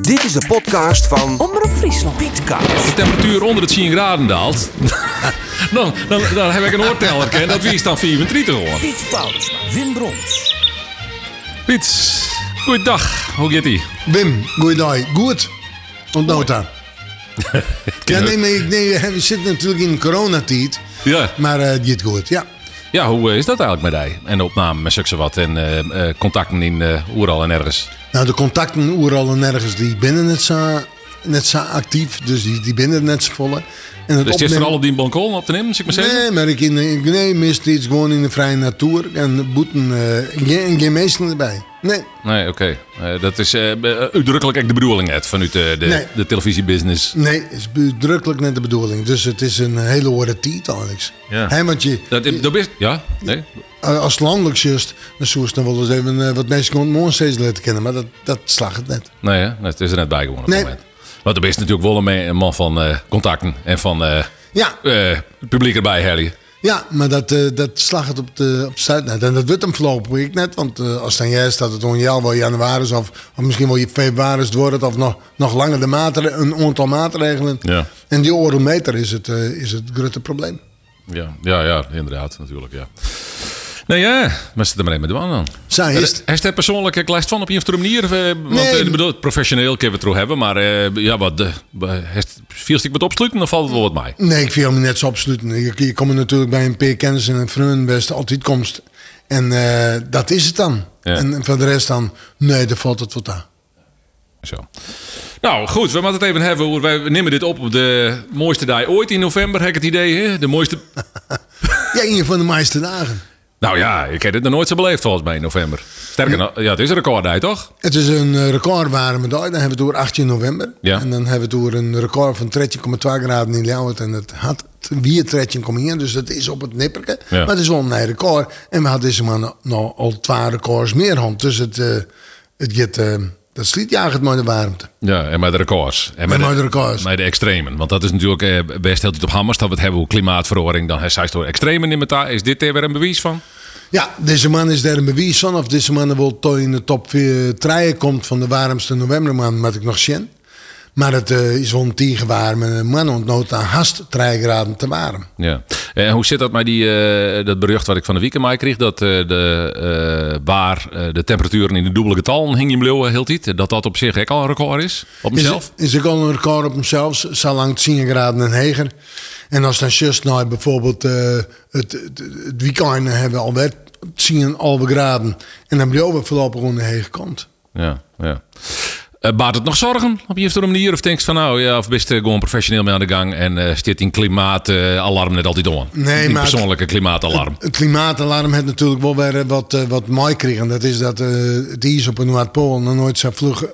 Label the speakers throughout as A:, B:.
A: Dit is de podcast van
B: Omroep Friesland.
A: Pietkaart.
C: de temperatuur onder het 10 graden daalt, dan, dan, dan heb ik een oorteller. En dat is dan 34 hoor.
A: Piet Paulusma, Wim Brons.
C: Piet, goeiedag. Hoe gaat ie?
D: Wim, goeiedag. Goed. Ontnoot daar. Ja, nee, nee, nee, we zitten natuurlijk in coronatijd.
C: Ja.
D: Maar eh dit goed, ja.
C: ja, hoe eh, is dat eigenlijk met die? En de opname met zulke wat en eh, eh, contacten in eh Oeral en ergens.
D: Nou, de contacten overal en nergens, die binnen net zo, net zo actief. Dus die, die binnen net zo volle.
C: Dus
D: En het
C: het is
D: opnemen-
C: vooral op die balkon op te nemen, zeg maar zeggen.
D: Nee, maar ik, in, ik nee, mist iets gewoon in de vrije natuur. En boeten, eh geen, geen meesten erbij. Nee,
C: Nee, oké. Eh, dat is eh, be- eh, uitdrukkelijk ook de bedoeling net vanuit eh, de,
D: Nee.
C: de televisiebusiness.
D: nee, is uitdrukkelijk net de bedoeling. Dus het is een hele hoorde tijd, Alex.
C: Ja.
D: Hè, want je,
C: Dat, dat is, ja, nee.
D: Eh, als landelijk just, dan zou ze dan wel eens even eh, wat mensen gewoon morgen steeds laten kennen. Maar dat, dat slaagt het net.
C: Nee, hè? het is er net bij gewoon op het
D: Nee.
C: moment. Want er is natuurlijk wel een me- een man van eh, contacten en van eh,
D: Ja,
C: eh, het publiek erbij, Harry.
D: ja maar dat, eh, dat slaagt het op de, op de stuit net. En dat wordt hem voorlopig week net. Want eh, als dan jij staat het onjaar wel januari is of, of misschien wel je februari is het wordt. Of nog, nog langer de maatregelen, een aantal maatregelen.
C: Ja.
D: En die orometer is het, eh, is het grote probleem.
C: Ja, ja, ja inderdaad, natuurlijk, ja. Nee, ja, maar zit er maar even met de man dan.
D: Zij is het.
C: Heeft hij persoonlijk ook last van op je of andere manier? Of, eh, want
D: Nee.
C: eh, ik bedoel, professioneel kunnen we het erover hebben, maar eh, ja, wat, de, heeft viel stuk met opsluiten, dan valt het wel wat mij.
D: Nee, ik vind hem niet zo absoluut. Je, je komt natuurlijk bij een peer kennis en een vriend best altijd komst. En eh, dat is het dan.
C: Ja.
D: En voor de rest dan, nee, daar valt het wat aan.
C: Zo. Nou goed, we moeten het even hebben. over- Wij nemen dit op op de mooiste dag ooit in november, heb ik het idee. Hè? De mooiste.
D: Ja, een van de meeste dagen.
C: Nou ja, ik heb dit nog nooit zo beleefd volgens mij in november. Sterker nog, ja, het is een recordtijd toch?
D: Het is een eh, recordwarme dag. Dan hebben we het over 18 november.
C: Ja.
D: En dan hebben we het over een record van 13,2 graden in Ljouwert. En het had het weer 13,1. Dus dat is op het nipperke.
C: Ja.
D: Maar het is wel een nieuw record. En we hadden deze maand nog al twee records meer hand. Dus het, eh het, gaat, eh, dat slietjaagt het maar de warmte.
C: Ja, en met de records. En
D: En met de records.
C: Met de extremen. Want dat is natuurlijk eh, best heel goed op hammers. Dat we het hebben over klimaatverandering. Dan zijn ze door extremen in elkaar. Is dit er weer een bewijs van?
D: Ja, deze man is daar een bewijs van. Of deze man wil toch in de top 4 treien komt van de warmste novembermaand, moet ik nog zien. Maar het eh, is wel een tegen warm. En een man ontnoot aan haast 3 graden te warm.
C: Ja. En hoe zit dat met die, eh, dat bericht wat ik van de weekend mij kreeg? Dat eh, de, eh, waar eh, de temperaturen in de dubbele getallen hing je blauwe heel tijd. Dat dat op zich ook al een record is. Op mezelf.
D: Is, is ook al een record op hemzelf, zo lang 10 graden en heger. En als dan just nou bijvoorbeeld eh, het, het, het weekend hebben we alweer 10 halve graden. En dan blijven we voorlopig onder heger komt.
C: Ja, ja. Eh, baart het nog zorgen op je of andere manier? Of denk je van nou ja, of best eh, gewoon professioneel mee aan de gang en eh zit in klimaatalarm net altijd door?
D: Nee,
C: die
D: maar-
C: persoonlijke klimaatalarm.
D: Het klimaatalarm heeft natuurlijk wel weer eh, wat, eh, wat mooi gekregen. Dat is dat eh, het ijs op de Noordpool nog nooit zo vlug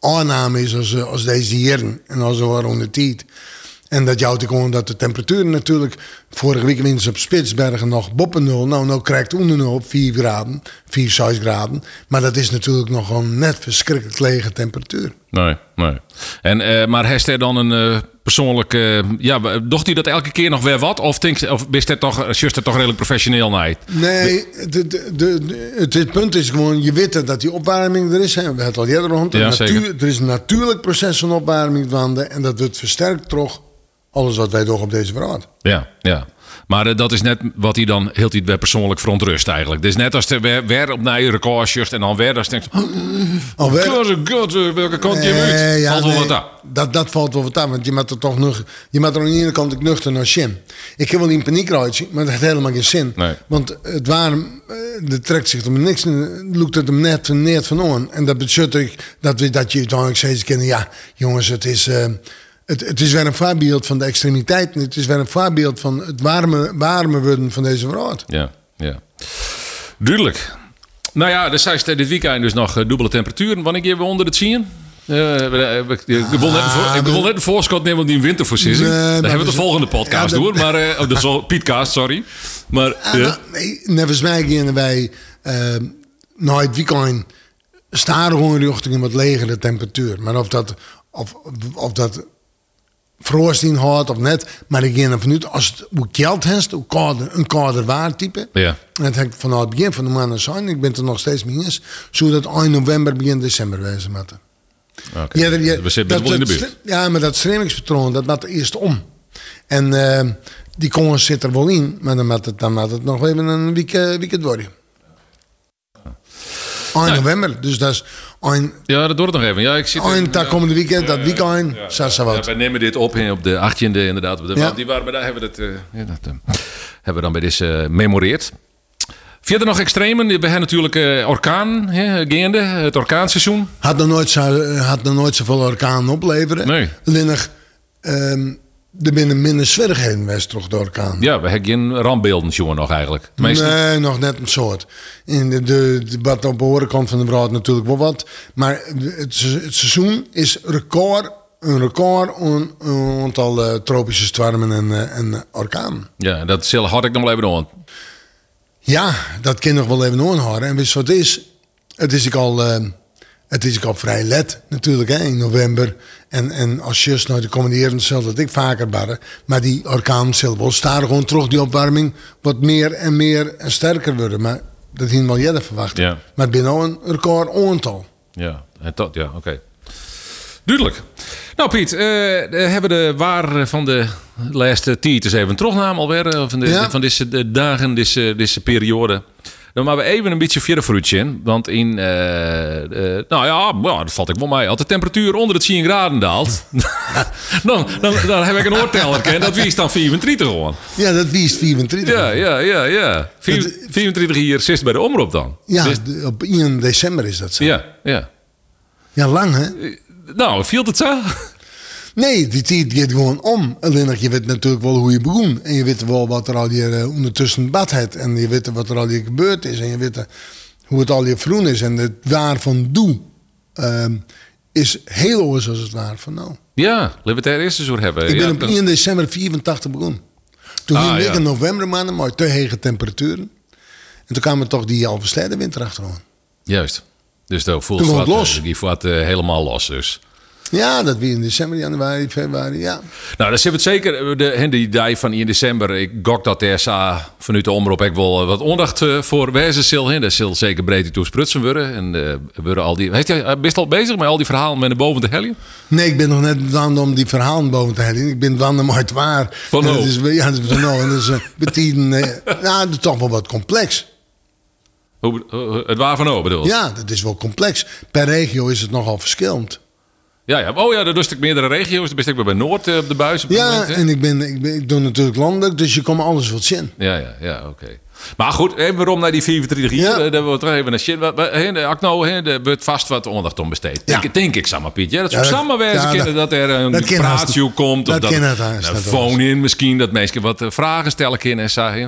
D: aanname is als, eh, als deze hier. En als er onder de tijd. En dat jouwt ik gewoon dat de temperaturen natuurlijk... Vorige week winnen ze op Spitsbergen nog boppen nul. Nou, nou krijgt onder nul 4 graden, 4, 6 graden. Maar dat is natuurlijk nog gewoon net verschrikkelijk lege temperatuur.
C: Nee, nee. En, eh, maar heeft hij dan een eh, persoonlijke... eh, ja, docht hij dat elke keer nog weer wat? Of, denkt, of bist hij toch, just hij toch redelijk professioneel naar?
D: Nee, de, de, de- de- het, het punt is gewoon, je weet dat die opwarming er is. Hè. We hadden het al eerder rond.
C: Ja,
D: Een natuur-
C: zeker.
D: er is een natuurlijk proces van opwarming gaande En dat wordt versterkt door alles wat wij doen op deze wereld.
C: Ja, ja. Maar eh, dat is net wat hij dan heel hij weer persoonlijk verontrust eigenlijk. Dus net als hij weer, weer op naar je record just en dan weer als hij denkt...
D: Alweer-
C: Oh, god, eh, welke kant je
D: Nee,
C: uit?
D: Eh, ja,
C: Valt wel
D: nee.
C: wat aan.
D: Dat, dat valt wel wat aan, want je moet er toch nog, je moet er aan de ene kant ook nuchter naar Jim. Ik heb wel in paniek rijden, maar dat heeft helemaal geen zin.
C: Nee.
D: Want het warm, eh, dat trekt zich om niks, eh, loopt het hem net, net van aan. En dat betekent ik dat, we, dat je uiteindelijk steeds kennen, ja, jongens, het is, eh, het, het is weer een voorbeeld van de extremiteiten. Het is weer een voorbeeld van het warme, warme worden van deze wereld.
C: Ja, ja. Duidelijk. Nou ja, dus zij dit weekend dus nog eh, dubbele temperaturen. Wanneer keer we onder het zien? Eh, we- we- ik wil net een voor- ik wil net een voorschot nemen op die winterversissing.
D: Ah, Nee, maar
C: Daar hebben we
D: we
C: de
D: zijn-
C: volgende podcast
D: Ja, dat-
C: door. Maar, eh, oh, dat is wel Pietcast, sorry. Maar eh, ja.
D: Ah, nou, nee, Nevens mij gingen wij eh, na het weekend staren gewoon richting een wat legere temperatuur. Maar of dat, of, of dat frost in houdt of net, maar ik ging ervan uit, als het hoe koud heeft, hoe kouder, een kouder waartype.
C: Ja.
D: En dat heb ik vanaf het begin van de maand zijn, ik ben het er nog steeds mee eens, zodat eind november, begin december wezen moeten.
C: Oké.
D: Ja, ja,
C: we zitten best wel in de buurt.
D: Ja, maar dat stemmingspatroon, dat maakt eerst om. En eh, die kon zit er wel in, maar dan maakt het, dan maakt het nog even een week, eh, weekend worden. Eind
C: Nou.
D: november, dus dat is eind,
C: Ja, dat doet het nog even. Ja, ik zit eh,
D: eind dat
C: ja.
D: komende weekend, dat weekend, ja,
C: Ja, wij nemen dit op hè, op de 18e inderdaad. op de-
D: Ja.
C: want Die waren, maar daar hebben we dat, eh, ja, dat eh, hebben we dan bij deze eh, memoreerd. Verder nog extremen. We hebben natuurlijk eh, orkaan hè, gaande, het orkaanseizoen.
D: Had nog nooit, zo, eh, had nog nooit zoveel orkaan opleveren.
C: Nee.
D: Linnig, ehm, er binnen minder zwerigheden geweest toch de orkaan.
C: Ja, we hebben geen rampbeelden jongen nog eigenlijk. Meestal.
D: Nee, nog net een soort. In de, de, de- wat op de horenkant van de brood natuurlijk wel wat. Maar het, se- het seizoen is record, een record aan een aantal eh, tropische stormen en, eh, en eh, orkanen.
C: Ja, dat zal had ik nog wel even door.
D: Ja, dat kan nog wel even horen. En wist je wat het is? Het is ik al, eh, het is ik al vrij let natuurlijk hè, in november. En, en als je nou de komende jaren zal dat ik vaker barren. Maar die orkaan zal wel staan gewoon terug die opwarming wat meer en meer en sterker worden. Maar dat hing wel jelle verwachten.
C: Ja.
D: Maar binnen een record aantal.
C: Ja, en dat, ja, oké. Duidelijk. Nou Piet, eh, eh, hebben we de waar van de laatste tijd eens even een terugnaam alweer. eh, Van, de,
D: Ja.
C: van deze de dagen, deze, deze periode. Dan maar we even een beetje verder vooruit in. Want in, eh, eh, nou ja, nou, dat valt ik wel mee. Als de temperatuur onder het 10 graden daalt, dan, dan, dan heb ik een oorteller. ken. Dat is dan 34 gewoon.
D: Ja, dat is 24.
C: Ja, ja, ja, ja. Vier- 24 hier zit bij de omroep dan.
D: Ja,
C: Dus-
D: de- op 1 december is dat zo. Ja,
C: ja, ja.
D: lang hè?
C: Nou, viel het zo?
D: Nee, die tijd gaat gewoon om. Alleen dat je weet natuurlijk wel hoe je begon. En je weet wel wat er al hier eh, ondertussen bad hebt. En je weet wat er al hier gebeurd is. En je weet eh, hoe het al hier vroen is. En het waar van doe ehm, is heel anders als het waar van nou.
C: Ja, libertair eerste seizoen hebben.
D: Ik
C: ja,
D: ben op
C: dat-
D: 1 december 84 begonnen. Toen
C: Ah,
D: ging ik
C: ja.
D: in november maanden, maar te hege temperaturen. En toen kwamen toch die halve winter achteraan.
C: Juist. Dus dat voelt
D: Toen
C: wat,
D: wordt los.
C: eh, Die voelt eh, helemaal los dus.
D: Ja, dat weer in december, januari, februari, ja.
C: Nou, dan zit het zeker. eh, De, hè, die dag van 1 december. Ik gok dat de SA vanuit de omroep ook wel eh, wat aandacht eh, voor wijzen zal. hè. Dat zal zeker breed toe sprutsen worden. En eh, worden al die... Heeft jij, best al bezig met al die verhalen met de boven de helje?
D: Nee, ik ben nog net dwanden om die verhalen boven te halen. Ik ben dwanden maar het waar.
C: Van
D: En dat
C: hoe?
D: is, Ja, dat is van hoe. En dat is eh, betien, eh, nou, dat is toch wel wat complex.
C: Hoe, hoe- het waar van O bedoel je?
D: Ja, dat is wel complex. Per regio is het nogal verschillend.
C: ja, ja. Oh ja, dat doe ik meerdere regio's. Dan ben ik weer bij Noord eh, op de buis op dit
D: Ja,
C: moment, hè.
D: en ik, ben, ik, ben, ik doe natuurlijk landelijk, dus je komt alles wat zin.
C: Ja, ja, ja, oké. Maar goed, even waarom naar die 24 hier.
D: Ja.
C: Ja. Daar wordt er even naar shit. Wat- wat- hè, de Akno, hè, daar wordt vast wat aandacht om besteed.
D: Ja.
C: Denk, denk ik, samen Piet. Ja, dat
D: Ja,
C: zou
D: dat-
C: samen
D: ja,
C: wezen kunnen
D: dat-
C: dat er
D: dat
C: een
D: ken haast
C: ratio
D: niet.
C: komt. Of
D: Dat
C: dat
D: ken het haast
C: een
D: niet,
C: phone in misschien. Dat mensen wat eh, vragen stellen kunnen en zo. hè.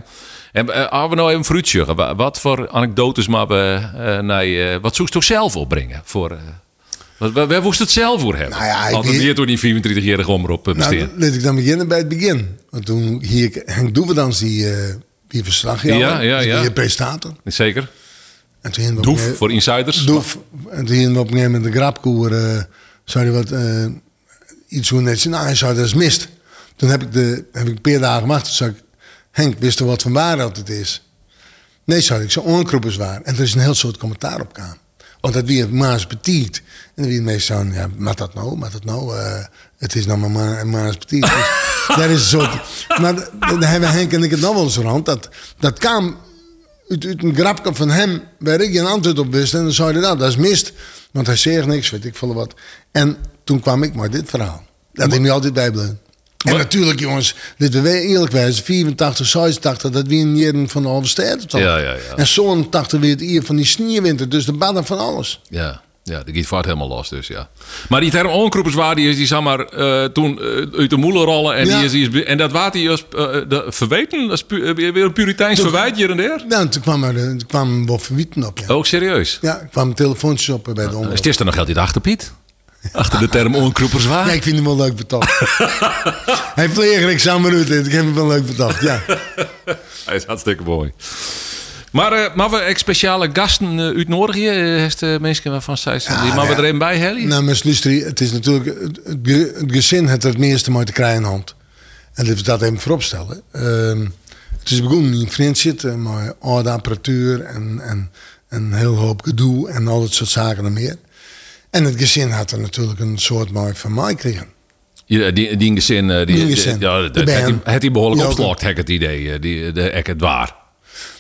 C: En eh, als we nou even fruitje. Wat, wat voor anekdotes maar we eh, naar je- Wat zoekst toch zelf opbrengen? Voor, eh, wat, waar, waar moest het zelf voor hebben?
D: Nou ja, ik
C: Altijd
D: weet-
C: weer door die 24-jarige omroep eh,
D: Nou,
C: besteden.
D: dan laat ik dan beginnen bij het begin. Want toen hier Henk Doeverdans, die, eh die verslag,
C: Ja, ja, ja.
D: die prestator.
C: Zeker.
D: En toen hingen we eh, op een
C: Doef
D: gegeven-
C: voor insiders.
D: Doef. En toen hingen we op een gegeven moment de grapkoer. eh zou je wat. eh, iets hoe net. Nou, hij zei dat is mist. Toen heb ik, de, heb ik een paar dagen gemaakt. Toen zei ik. Henk, wist er wat van waar dat het is? Nee, zei ik. Zo onkroepers waar. En er is een heel soort commentaar op kwam. Want dat wie het Maas Petit. En dan wie meestal zo'n. Ja, maar dat nou, maar dat nou. eh, het is nou maar Ma- Maas Petit. Dus dat is een soort. Maar d- dan hebben Henk en ik het nog wel eens rond. Dat, dat kwam uit, uit een grapje van hem, waar ik een antwoord op wist. En dan zei hij, nou, dat is mist. Want hij zegt niks, weet ik veel wat. En toen kwam ik maar dit verhaal. Dat is me altijd bijblijven. En
C: Maar-
D: natuurlijk, jongens, dit we weer eerlijk wijzen. 84, 86, dat wie een jaren van de halve stad.
C: Ja, ja, ja.
D: En zo'n 80 weer het hier van die snierwinter. Dus de badden van alles.
C: Ja, ja de giet vaart helemaal los dus, ja. Maar die term onkroeperswaar, die is die zeg maar eh, toen eh, uit de moelen rollen en,
D: Ja.
C: die is, die is- en dat waard die is eh, de- verweten, dat is pu- eh, weer een puriteins verwijt hier en daar.
D: Nou, en toen kwam er, eh, toen kwam wel verwieten op, ja.
C: Ook serieus.
D: Ja, er kwamen telefoontjes op bij de
C: Oh. Ah, Is
D: omroep.
C: dit er nog altijd achter, Piet? Achter de term onkroeperswaar?
D: Ja, ik vind hem wel leuk betaald. Hij vleeg ik samen uit. Ik heb hem wel leuk betaald, ja.
C: Hij is hartstikke mooi. Maar, eh, maar we echt speciale gasten eh, uit Norge, eh, heeft de mensen waarvan zij zijn, die
D: Ja,
C: maar we
D: ja.
C: er een bij, Helly?
D: Nou, mijn slustrie, het is natuurlijk het, het, ge- het gezin het het meeste maar te krijgen hand. En dat we dat even vooropstellen. Ehm het is begonnen in eh, Frans zitten, maar oude apparatuur en, en een heel hoop gedoe en al dat soort zaken en meer. En het gezin had er natuurlijk een soort mooi van mij gekregen.
C: Ja, die, die gezin, eh, die,
D: Die gezin.
C: ja,
D: De
C: dat- het,
D: band.
C: het die behoorlijk
D: Ja,
C: opslakt, heb ik het idee. eh, Die, de, ik het waar.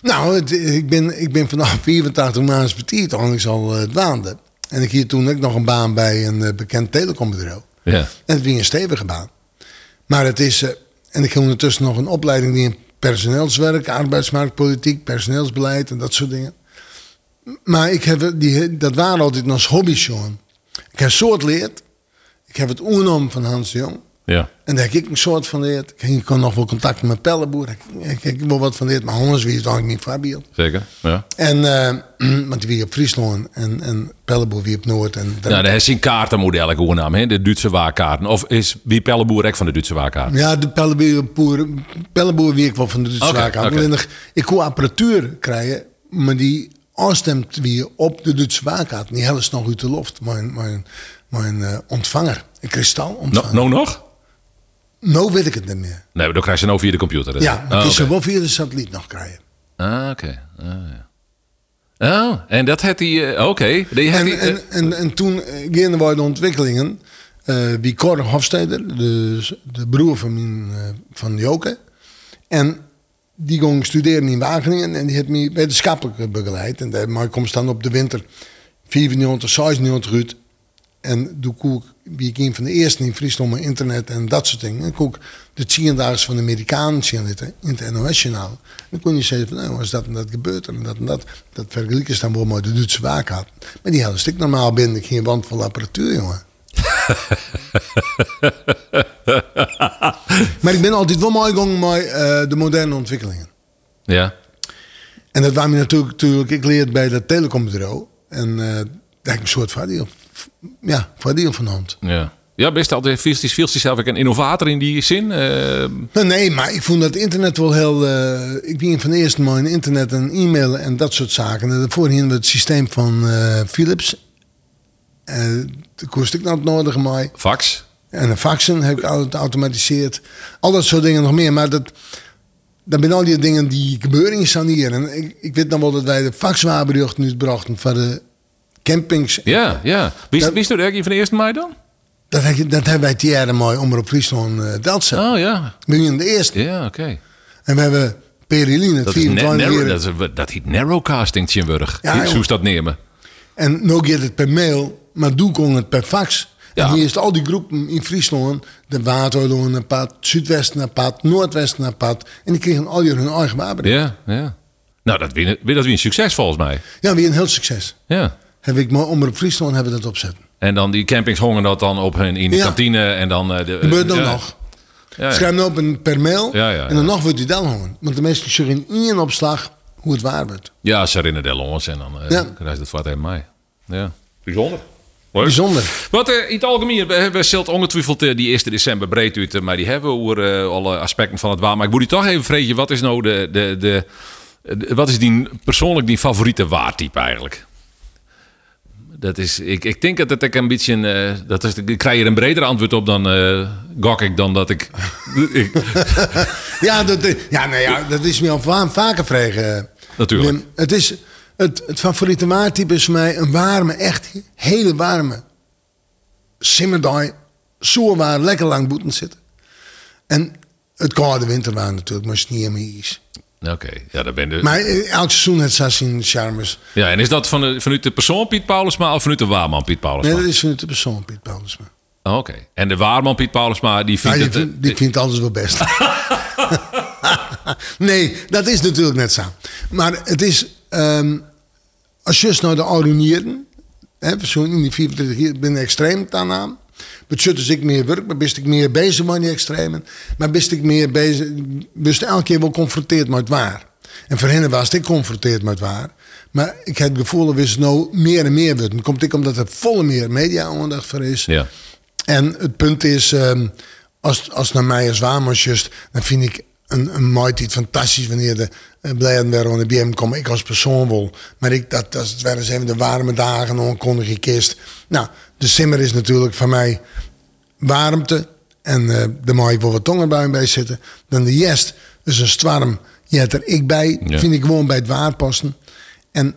D: Nou, het- ik, ben, ik ben vanaf 84 maanden betiert, ondanks al eh, het waande. En ik hier toen ook nog een baan bij een eh, bekend telecombedrijf.
C: Ja.
D: En het ging een stevige baan. Maar het is, eh, en ik ging ondertussen nog een opleiding die in personeelswerk, arbeidsmarktpolitiek, personeelsbeleid en dat soort dingen. Maar ik heb, eh, die, dat waren altijd als hobby's, jongen. Ik heb soort leerd. Ik heb het oernomen van Hans de Jong.
C: Ja.
D: En daar heb ik een soort van leerd. Ik ik kon nog wel contact met mijn pellenboer. Ik- Ik heb wel wat van leerd, maar anders wie is dan niet Fabio.
C: Zeker. Ja.
D: En, eh, want die wie op Friesland en, en pellenboer wie op Noord. En dan-
C: Nou, daar is een kaartenmodel, ik hoor naam, hè? de Duitse waarkaarten. Of is wie Pelleboer ook van de Duitse waarkaarten?
D: Ja, de pellenboer, pellenboer wie ik wel van de Duitse
C: Oké,
D: zaak aan.
C: oké.
D: Alleen nog, ik kon apparatuur krijgen, maar die afstemt weer op de Duitse zaak aan. Die hel is nog uit de loft. Mijn, mijn, mijn eh, ontvanger, een kristal
C: Nou,
D: ontvanger. Nou
C: nou nog?
D: weet ik het niet meer.
C: Nee, dan krijg je nou via de computer. hè?
D: Ja, maar ik
C: Oh,
D: kan ze
C: Nou. oké.
D: wel via de satelliet nog krijgen.
C: Ah, oké. Ah, ja. Oh, en dat had hij... eh, Oké. Die had
D: En,
C: hij, eh,
D: en, en, en toen eh, gingen wij de ontwikkelingen. eh wie Cor Hofstede, dus de broer van, mijn, eh, van Joke. En die ging studeren in Wageningen. En die heeft mij wetenschappelijk begeleid. En daar maar komt dan op de winter 94, 96 uit. En toen koek, wie ik een van de eersten in Friesland met internet en dat soort dingen. En koek de tiendaagse van de Amerikanen zien zitten in het NOS-journaal. Dan kon je zeggen van, nou, als dat en dat gebeurt en dat en dat. Dat vergelijken ze dan wel met de Duitse waak had. Maar die hadden stik normaal binnen, geen wand van apparatuur, jongen. maar ik ben altijd wel mooi gang met eh, de moderne ontwikkelingen.
C: ja.
D: En dat waren we natuurlijk, natuurlijk ik leerde bij dat telecombedrijf. En eh, daar heb ik een soort voordeel, ja, voordeel van hand.
C: Ja. Ja, best altijd. Viel hij zelf ook een innovator in die zin? Eh,
D: Nou, nee, maar ik vond dat internet wel heel. eh, ik ben van de eerste man in internet en e-mail en dat soort zaken. En daarvoor hadden we het systeem van eh, Philips. En dat kost ik nou het nodige mij.
C: fax?
D: En een faxen heb ik al geautomatiseerd. Al dat soort dingen nog meer. Maar dat, dat zijn al die dingen die gebeuren staan hier. En ik, ik weet nog wel dat wij de faxwaarbrug nu brachten voor de campings.
C: Ja, ja. Wie is
D: Dat-
C: wie is er eigenlijk van de eerste mei dan?
D: Dat, heb je- dat hebben wij Thierry mooi onder op Friesland uh, Deltsen.
C: Oh ja.
D: We zijn de eerste.
C: Ja, oké.
D: En we hebben Perilien, het
C: Dat is net
D: 24
C: narrow,
D: uur.
C: dat, is, dat heet narrowcasting, Tjimburg.
D: Ja,
C: Ja,
D: joh.
C: Hoe is dat nemen?
D: En nu gaat het per mail, maar doe kon het per fax.
C: Ja.
D: En hier is al die groepen in Friesland, de Waterloon, een pad, Zuidwesten, een pad, Noordwesten, een pad. En die kregen al hun eigen wapen.
C: Ja, ja. Nou, dat weer dat weer een succes volgens mij.
D: Ja, weer een heel succes.
C: Ja.
D: Heb ik maar om op Friesland hebben we dat opzetten.
C: En dan die campings hongen dat dan op hun in de
D: Ja.
C: kantine en dan... eh, de,
D: Gebeurt dan
C: ja.
D: nog.
C: Ja, ja.
D: Schrijf hem op een, per mail
C: Ja, ja,
D: en dan
C: ja.
D: nog wordt die dan gewoon. Want de mensen zullen in één opslag hoe het waar wordt.
C: Ja, Sarine de Lons en dan eh
D: Ja.
C: krijgt het wat tegen mij. Ja. Bijzonder.
D: Bijzonder.
C: Wat eh, in het algemeen, we, we zult ongetwijfeld eh, die 1 december breed uit, eh, maar die hebben we over eh, alle aspecten van het waar. Maar ik moet u toch even vregen, wat is nou de, de, de, de- wat is die, persoonlijk die favoriete waartype eigenlijk? Dat is, ik, ik denk dat het ook een beetje, een, eh, dat is, ik krijg hier een breder antwoord op dan eh, gok ik dan dat ik, ik
D: Ja, dat, ja, nou ja, dat is me al va- vaker vragen.
C: Natuurlijk.
D: Wim. Het, is, het, het favoriete waartype is voor mij een warme, echt hele warme simmerdaai. Zoerwaar, lekker lang boeten zitten. En het koude winterwaar natuurlijk, maar sneeuw meer is.
C: oké, ja, daar ben je. dus.
D: Maar eh, elk seizoen het Sassin Charmers.
C: ja, en is dat van, de- vanuit de persoon Piet Paulusma of vanuit de waarman Piet Paulusma?
D: Nee, dat is vanuit de persoon, Piet Paulusma.
C: Oh, Oké. En de waarman Piet Paulusma, die
D: Ja,
C: vindt
D: die,
C: het... eh,
D: vindt- die vindt alles wel best. nee, dat is natuurlijk net zo. Maar het is, ehm, als je eens naar de Arunieren, hè, zo in die 34 jaar ben ik extreem dan aan. Betjut is dus ik meer werk, maar best ik meer bezig met die extremen. Maar best ik meer bezig, best elke keer wel geconfronteerd met het waar. En voor hen was ik geconfronteerd met het waar. Maar ik heb het gevoel dat we ze nou meer en meer worden. Komt ik omdat er volle meer media-aandacht voor is.
C: Ja.
D: En het punt is, ehm, als, als het naar mij is Wamers just, dan vind ik een, een mooi iets fantastisch wanneer de uh, Blijen weer aan de BM komen. Ik als persoon wel. Maar ik, dat, dat is het wel eens even de warme dagen, onkondig ik kist. Nou, de simmer is natuurlijk voor mij warmte. En eh, daar mag ik wel wat tongenbuien bij zitten. Dan de jest is een stwarm. Je hebt er ik bij.
C: Ja.
D: Vind ik gewoon bij het waar passen. En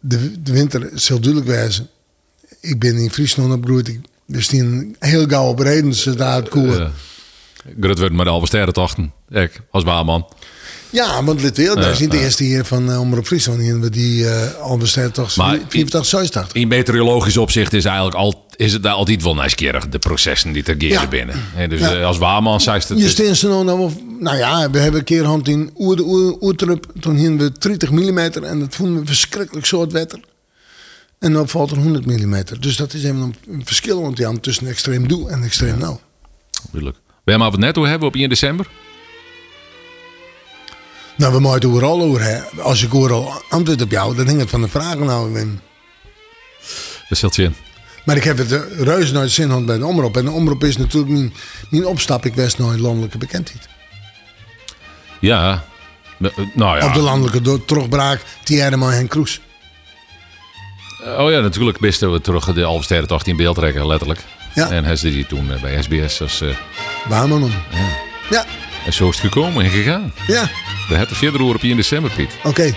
D: de, de winter zal duidelijk wijzen ik ben in Friesland opgegroeid. Ik wist in heel gauw op Redense daar het koer.
C: Ja. Grut werd maar de Albert Sterren tachten. Ik, als waarman.
D: Ja, want Litwil, dat is niet de eerste hier van eh, Omroep Friesland. hier, want Die eh al bestaat toch
C: Maar-
D: 84, 86.
C: In meteorologisch opzicht is, eigenlijk al, is het daar altijd wel nieuwsgierig, de processen die ter keren
D: Ja.
C: binnen. Hè, dus
D: Ja.
C: eh, als waarman zei ze het...
D: Je stint ze nou, nou, of- nou ja, we hebben een keer hand in Oer- Oer- Oertrup. Toen hingen we 30 mm en dat vonden we verschrikkelijk soort wetter. En dan valt er 100 mm. Dus dat is even een verschil want Jan, tussen extreem doe en extreem nou.
C: Tuurlijk. Wil je maar wat netto hebben op 1 december?
D: Nou, we moeten het overal over hè. Als ik overal antwoord op jou, dan hing het van de vragen nou, Wim.
C: Dat zult je in.
D: Maar ik heb het eh, reuze nooit zin gehad bij de omroep. En de omroep is natuurlijk mijn, mijn opstap. Ik wist nooit landelijke bekendheid.
C: Ja. Eh, eh, Nou ja.
D: Op de landelijke do- trogbraak, Tierma en Kroes.
C: Oh ja, natuurlijk bisten we terug de Alversterretocht in beeld trekken, letterlijk.
D: Ja.
C: En hij die toen eh, bij SBS als eh
D: Waar man om? Ja,
C: en zo is het gekomen en gegaan.
D: ja,
C: We hadden verder horen op 1 december, Piet.
D: oké.